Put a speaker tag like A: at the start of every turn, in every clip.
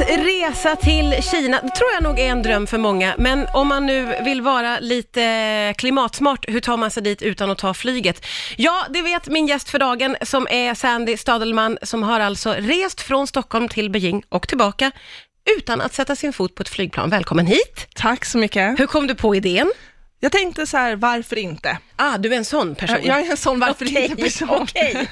A: resa till Kina, det tror jag nog är en dröm för många, men om man nu vill vara lite klimatsmart, hur tar man sig dit utan att ta flyget? Ja, det vet min gäst för dagen som är Sandy Stadelman som har alltså rest från Stockholm till Beijing och tillbaka utan att sätta sin fot på ett flygplan. Välkommen hit!
B: Tack så mycket.
A: Hur kom du på idén?
B: Jag tänkte så här, varför inte?
A: Ah, du är en sån person.
B: Jag är en sån varför
A: Okej,
B: inte-person.
A: okej.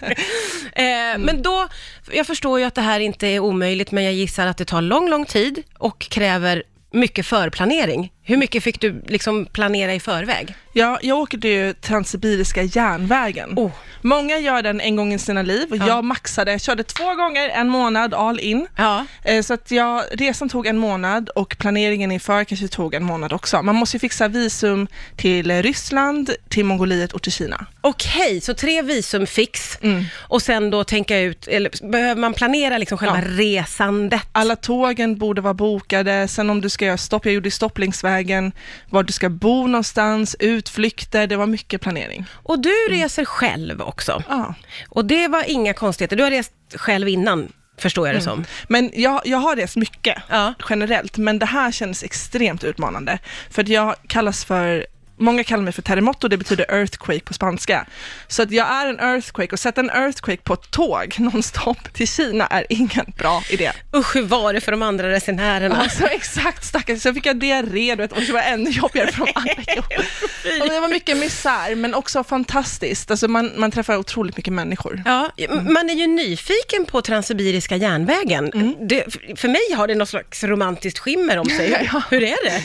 A: eh,
B: Mm.
A: Men då, jag förstår ju att det här inte är omöjligt, men jag gissar att det tar lång, lång tid och kräver mycket förplanering. Hur mycket fick du liksom planera i förväg?
B: Ja, jag åker ju Transsibiriska järnvägen.
A: Oh.
B: Många gör den en gång i sina liv och jag maxade, körde två gånger, en månad all in.
A: Ja.
B: Eh, Så att jag, resan tog en månad och planeringen inför kanske tog en månad också. Man måste ju fixa visum till eh, Ryssland, till Mongoliet och till Kina.
A: Okej, så tre visumfix
B: Mm.
A: och sen då tänka ut, eller behöver man planera liksom själva
B: Ja.
A: resandet?
B: Alla tågen borde vara bokade, sen om du ska göra stopp, jag gjorde stopp längs vägen, var du ska bo någonstans, utflykter, det var mycket planering.
A: Och du reser själv också.
B: Mm. Ja.
A: Och det var inga konstigheter. Du har rest själv innan, förstår jag det som.
B: Men jag, jag har rest mycket
A: Ja.
B: generellt, men det här kändes extremt utmanande. För att jag kallas för Många kallar mig för terremoto, det betyder earthquake på spanska. Så att jag är en earthquake och sätta en earthquake på ett tåg nonstop till Kina är ingen bra idé.
A: Usch, hur var det för de andra resenärerna?
B: Alltså exakt stackars, så fick jag diarré du vet, och det var ännu jobbigare för de andra. Jo. Och Det var mycket misär, men också fantastiskt. Alltså man, man träffar otroligt mycket människor.
A: Ja, man är ju nyfiken på Transsibiriska järnvägen. Det, för mig har det något slags romantiskt skimmer om sig. Hur,
B: Mm. Ja.
A: hur är det?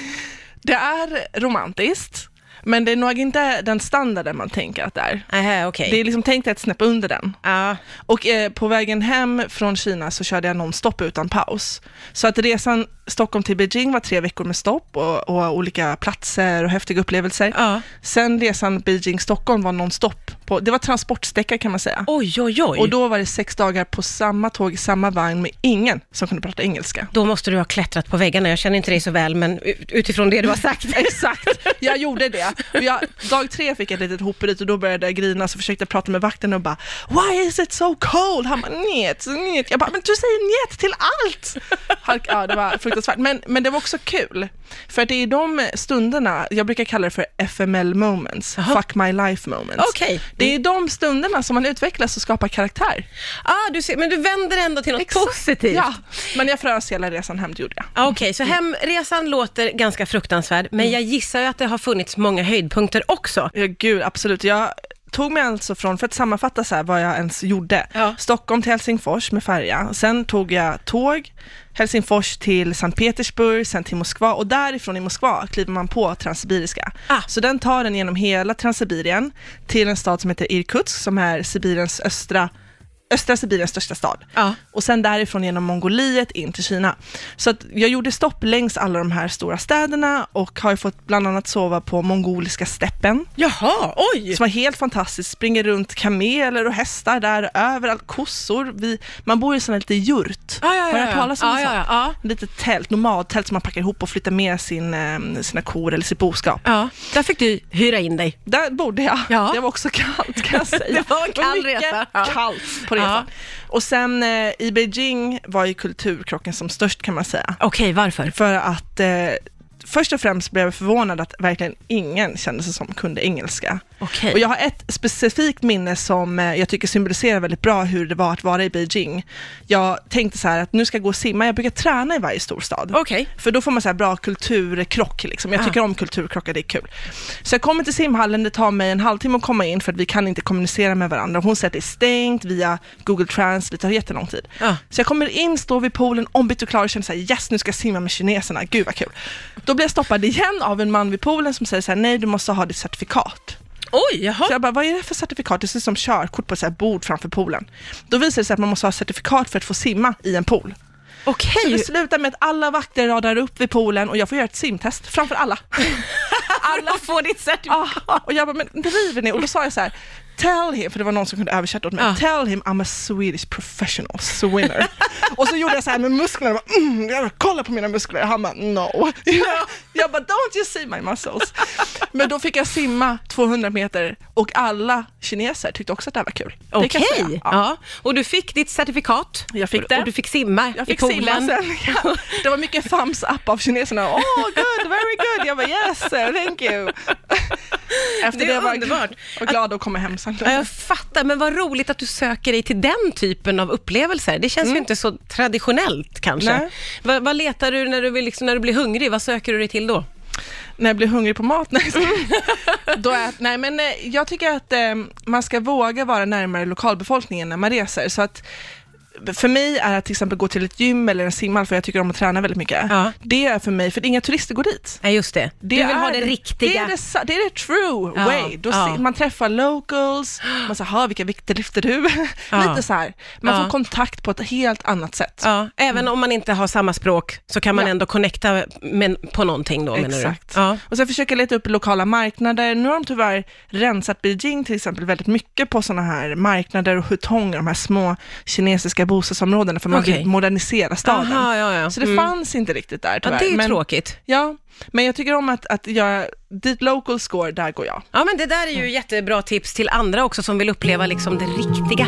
B: Det är romantiskt, men det är nog inte den standarden man tänker att det är.
A: Aha, okej.
B: Det är liksom tänkt ett snäpp under den.
A: Ja.
B: Och eh, på vägen hem från Kina så körde jag nonstop utan paus. Så att resan Stockholm till Beijing var tre veckor med stopp och, och olika platser och häftiga upplevelser.
A: Ja.
B: Sen resan Beijing-Stockholm var nonstop. På, det var transportsträcka kan man säga.
A: Oj, oj, oj.
B: Och
A: då,
B: då var det sex dagar på samma tåg, i samma vagn med ingen som kunde prata engelska.
A: måste du ha klättrat på väggarna. Jag känner inte dig så väl, men ut- utifrån det du har sagt.
B: Exakt, jag gjorde det. Och jag, dag tre fick jag ett litet hoppryt och då började jag grina, så försökte jag prata med vakten och bara “Why is it so cold?” Han bara “Njet, njet”. Jag bara “Men du säger njet till allt!” Han- Ja, det var fruktansvärt. Men, men det var också kul, för att det är de stunderna, jag brukar kalla det för FML moments, fuck my life moments.
A: Okej.
B: Det är de stunderna som man utvecklas och skapar karaktär.
A: Ah, du ser, men du vänder ändå till något positivt.
B: Ja, men jag frös hela resan hem, det gjorde jag.
A: Ah, Okej, så hemresan låter ganska fruktansvärd,
B: Mm.
A: men jag gissar ju att det har funnits många höjdpunkter också.
B: Ja, gud, absolut. Jag tog mig alltså från, för att sammanfatta så här vad jag ens gjorde,
A: Ja.
B: Stockholm till Helsingfors med färja. Sen tog jag tåg, Helsingfors till Sankt Petersburg, sen till Moskva och därifrån i Moskva kliver man på Transsibiriska.
A: Ah.
B: Så den tar den genom hela Transsibirien till en stad som heter Irkutsk som är Sibiriens östra östra Sibiriens största stad.
A: Ja.
B: Och sen därifrån genom Mongoliet in till Kina. Så att jag gjorde stopp längs alla de här stora städerna och har ju fått bland annat sova på mongoliska steppen
A: Jaha, oj!
B: som var helt fantastiskt, springer runt kameler och hästar där överallt, kossor. Vi, man bor i sån här lite jurt.
A: Ja, ja,
B: Har
A: ja,
B: du hört
A: ja.
B: talas om
A: Ja,
B: det?
A: ja, ja, ja.
B: Lite tält, nomadtält som man packar ihop och flyttar med sin, eh, sina kor eller sitt boskap.
A: Ja, där fick du hyra in dig.
B: Där bodde jag.
A: Ja.
B: Det var också kallt kan jag säga.
A: Det var en kall
B: mycket
A: resa. Ja.
B: kallt på
A: Ja.
B: resan. Och sen eh, i Beijing var ju kulturkrocken som störst kan man säga.
A: Okej, varför?
B: För att eh, först och främst blev jag förvånad att verkligen ingen kände sig som kunde engelska.
A: Okej.
B: Och jag har ett specifikt minne som eh, jag tycker symboliserar väldigt bra hur det var att vara i Beijing. Jag tänkte så här att nu ska jag gå och simma, jag brukar träna i varje storstad.
A: Okej.
B: För då får man så här bra kulturkrock, liksom. jag
A: Ah.
B: tycker om kulturkrockar, det är kul. Så jag kommer till simhallen, det tar mig en halvtimme att komma in för att vi kan inte kommunicera med varandra. Hon säger att det är stängt via Google Translate, det tar jättelång tid.
A: Ah.
B: Så jag kommer in, står vid poolen, ombytt och klar och känner så här, yes nu ska jag simma med kineserna, gud vad kul. Då blir jag stoppad igen av en man vid poolen som säger så här, nej du måste ha ditt certifikat.
A: Oj, jaha.
B: Så jag bara, vad är det för certifikat? Det ser ut som körkort på ett så här bord framför poolen. Då visar det sig att man måste ha certifikat för att få simma i en pool.
A: Okej.
B: Så det slutar med att alla vakter radar upp vid poolen och jag får göra ett simtest framför alla.
A: alla får ditt certifikat.
B: Ah, och jag bara, men driver ni? Och då sa jag så här, Tell him, för det var någon som kunde översätta åt mig.
A: Ja.
B: Tell him I'm a Swedish professional swimmer. och så gjorde jag så här med musklerna, jag bara, mm, jag bara, kolla på mina muskler. Han bara, no. jag bara, don't you see my muscles. Men då fick jag simma 200 meter och alla kineser tyckte också att det här var kul. Det kan
A: Okej,
B: jag säga.
A: ja.
B: Ja.
A: och du fick ditt certifikat.
B: Jag fick
A: Och-
B: det.
A: Och du fick simma
B: Jag
A: i
B: fick
A: poolen.
B: simma sen. Ja. Det var mycket thumbs up av kineserna. Oh, good, very good. Jag bara yes, sir, thank you. Efter
A: Det
B: det,
A: är
B: var
A: underbart.
B: jag och glad att komma hem sen.
A: Ja, jag fattar, men vad roligt att du söker dig till den typen av upplevelser. Det känns ju inte så traditionellt kanske.
B: Mm. Nej.
A: Vad, vad letar du när du, vill, liksom, när du blir hungrig? Vad söker du dig till då?
B: När jag blir hungrig på mat. Nej, så-
A: Mm.
B: Då är, nej men eh, jag tycker att eh, man ska våga vara närmare lokalbefolkningen när man reser. Så att för mig är att till exempel gå till ett gym eller en simhall, för jag tycker om att träna väldigt mycket.
A: Ja.
B: Det är för mig, för det är inga turister går dit.
A: Nej, just det. du vill ha det, riktiga.
B: Det är det, sa- det är det true
A: Ja,
B: way. Då
A: ja.
B: ser, man träffar locals, man säger ha vilka vikter lyfter du?
A: Ja.
B: Lite så här. Man
A: Ja.
B: får kontakt på ett helt annat sätt.
A: Ja, även om man inte har samma språk så kan man
B: Ja.
A: ändå connecta med, på någonting då menar du?
B: Exakt.
A: Ja.
B: Och sen försöka leta upp lokala marknader. Nu har de tyvärr rensat Beijing till exempel väldigt mycket på sådana här marknader och hutonger, de här små kinesiska bostadsområdena, för man
A: Okej.
B: vill modernisera staden.
A: Aha, ja, ja.
B: Så det
A: Mm.
B: fanns inte riktigt där
A: ja,
B: tyvärr.
A: det är ju
B: men,
A: tråkigt.
B: ja, men jag tycker om att, att jag, dit locals går, där går jag.
A: Ja, men det där är ju jättebra tips till andra också som vill uppleva liksom det riktiga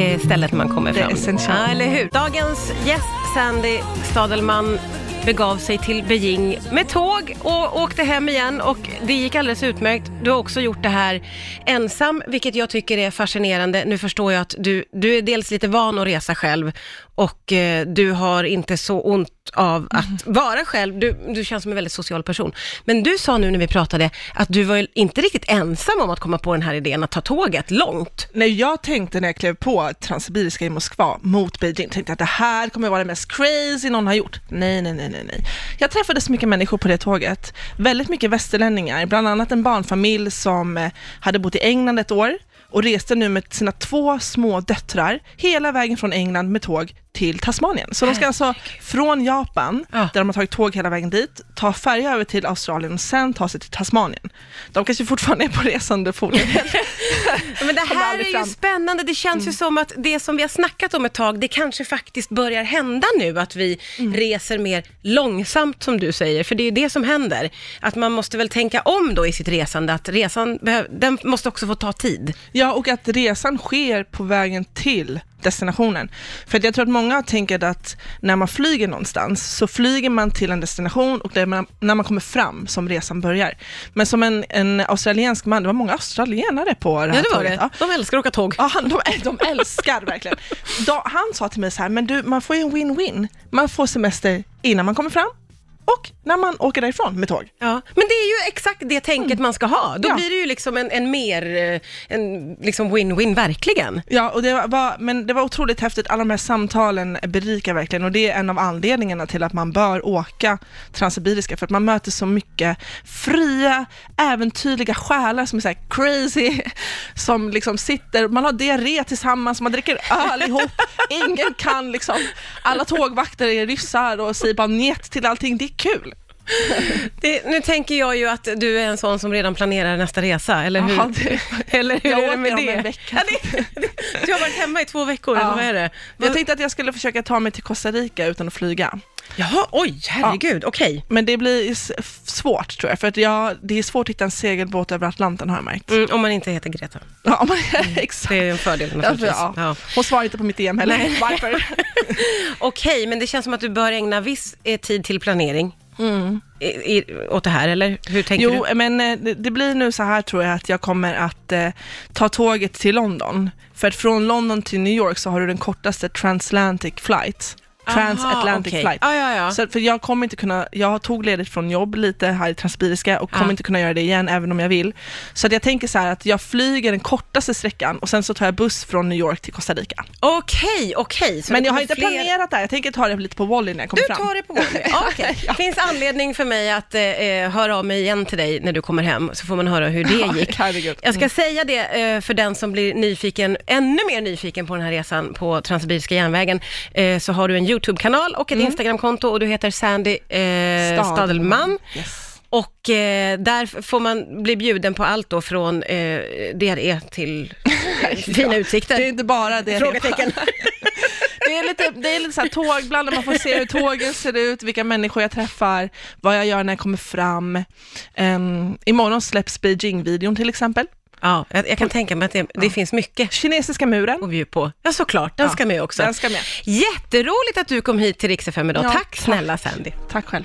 A: eh, stället man kommer
B: Det är
A: fram.
B: essentiellt.
A: Ja, eller hur? Dagens gäst Sandy Stadelman begav sig till Beijing med tåg och åkte hem igen och det gick alldeles utmärkt. Du har också gjort det här ensam, vilket jag tycker är fascinerande. Nu förstår jag att du, du är dels lite van att resa själv och eh, du har inte så ont av att vara själv. Du, du känns som en väldigt social person. Men du sa nu när vi pratade att du var ju inte riktigt ensam om att komma på den här idén att ta tåget långt.
B: När jag tänkte när jag klev på Transsibiriska i Moskva mot Beijing, tänkte jag att det här kommer vara det mest crazy någon har gjort. Nej, nej, nej, nej, nej. Jag träffade så mycket människor på det tåget. Väldigt mycket västerlänningar, bland annat en barnfamilj som eh, hade bott i England ett år och reste nu med sina två små döttrar hela vägen från England med tåg till Tasmanien. Så de ska alltså från Japan,
A: Ja.
B: där de har tagit tåg hela vägen dit, ta färja över till Australien och sen ta sig till Tasmanien. De kanske fortfarande är på resande fot.
A: Men det
B: Kommer
A: här
B: aldrig
A: är ju
B: fram. Mm.
A: spännande. Det känns ju som att det som vi har snackat om ett tag, det kanske faktiskt börjar hända nu, att vi
B: Mm.
A: reser mer långsamt som du säger, för det är ju det som händer. Att man måste väl tänka om då i sitt resande, att resan behöv, den måste också få ta tid.
B: Ja, och att resan sker på vägen till destinationen. För att jag tror att många tänker att när man flyger någonstans så flyger man till en destination och det är man, när man kommer fram som resan börjar. Men som en, en australiensk man, det var många australienare på det här
A: Ja, det var
B: tåget.
A: det.
B: Ja.
A: De älskar att åka tåg.
B: Ja, han, de, de älskar verkligen. De, han sa till mig så här, men du, man får ju en win-win. Man får semester innan man kommer fram och när man åker därifrån med tåg.
A: Ja, men det är ju exakt det tänket man ska ha. Då
B: Mm. Ja.
A: blir det ju liksom en, en mer, eh, en liksom win-win verkligen.
B: Ja, och det var, men det var otroligt häftigt. Alla de här samtalen berikar verkligen och det är en av anledningarna till att man bör åka Transsibiriska för att man möter så mycket fria, äventyrliga själar som är så här crazy, som liksom sitter, man har diarré tillsammans, man dricker öl ihop, ingen kan liksom, alla tågvakter är ryssar och säger bara njet till allting, det är kul.
A: Det, nu tänker jag ju att du är en sån som redan planerar nästa resa, eller hur?
B: Jaha, det-
A: eller hur
B: Jag
A: är det
B: åker
A: med
B: om
A: det?
B: en vecka.
A: Ja, det, det? Du har varit hemma i två veckor, eller
B: Ja.
A: vad är det?
B: Jag tänkte att jag skulle försöka ta mig till Costa Rica utan att flyga.
A: Jaha, oj, herregud, okej.
B: Men det blir s- f- svårt tror jag, för att jag, det är svårt att hitta en segelbåt över Atlanten har jag märkt.
A: Mm, om man inte heter Greta.
B: Ja, om man, exakt.
A: Mm. Det är en fördel
B: Ja, för-
A: naturligtvis.
B: ja.
A: Ja.
B: Hon svarar inte på mitt DM heller.
A: Nej.
B: Varför?
A: Okej, men det känns som att du bör ägna viss eh, tid till planering i, i, åt det här, eller hur tänker
B: Mm. Jo, men eh, det- det blir nu så här tror jag att jag kommer att eh, ta tåget till London. För att från London till New York så har du den kortaste transatlantic flight.
A: du?
B: Transatlantic
A: Aha, okej. Ah,
B: flight.
A: Ja, ja, ja.
B: Så, för jag kommer inte kunna, jag tog ledigt från jobb lite här i Transsibiriska och kommer
A: Ja.
B: inte kunna göra det igen även om jag vill. Så att jag tänker så här att jag flyger den kortaste sträckan och sen så tar jag buss från New York till Costa Rica.
A: Okej, okej. så
B: Men
A: det
B: jag har
A: kommer
B: inte
A: fler-
B: planerat det här, jag tänker ta det lite på volley när jag kommer
A: Du
B: fram.
A: tar det på Wally. Ja, Okej. Finns anledning för mig att eh, eh, höra av mig igen till dig när du kommer hem, så får man höra hur det gick.
B: Herregud.
A: Jag ska säga det eh, för den som blir nyfiken, ännu mer nyfiken på den här resan på Transsibiriska järnvägen, eh, så har du en YouTube-kanal och ett Instagram-konto och du heter Sandy eh, Stadelman.
B: Yes.
A: Och eh, där får man bli bjuden på allt då från eh, diarré till eh, fina utsikter.
B: Det är inte bara det.
A: Frågetecken.
B: Det är lite, det är lite så här tåg, ibland när man får se hur tågen ser ut, vilka människor jag träffar, vad jag gör när jag kommer fram. Um, imorgon släpps Beijing-videon till exempel.
A: ja, jag, jag kan tänka mig att det, det finns mycket
B: Kinesiska muren.
A: att bjuda på. Ja, såklart. Den
B: Ja,
A: ska med också.
B: den ska med.
A: Jätteroligt att du kom hit till Rix FM idag.
B: Ja,
A: tack snälla Sandy.
B: Tack själv.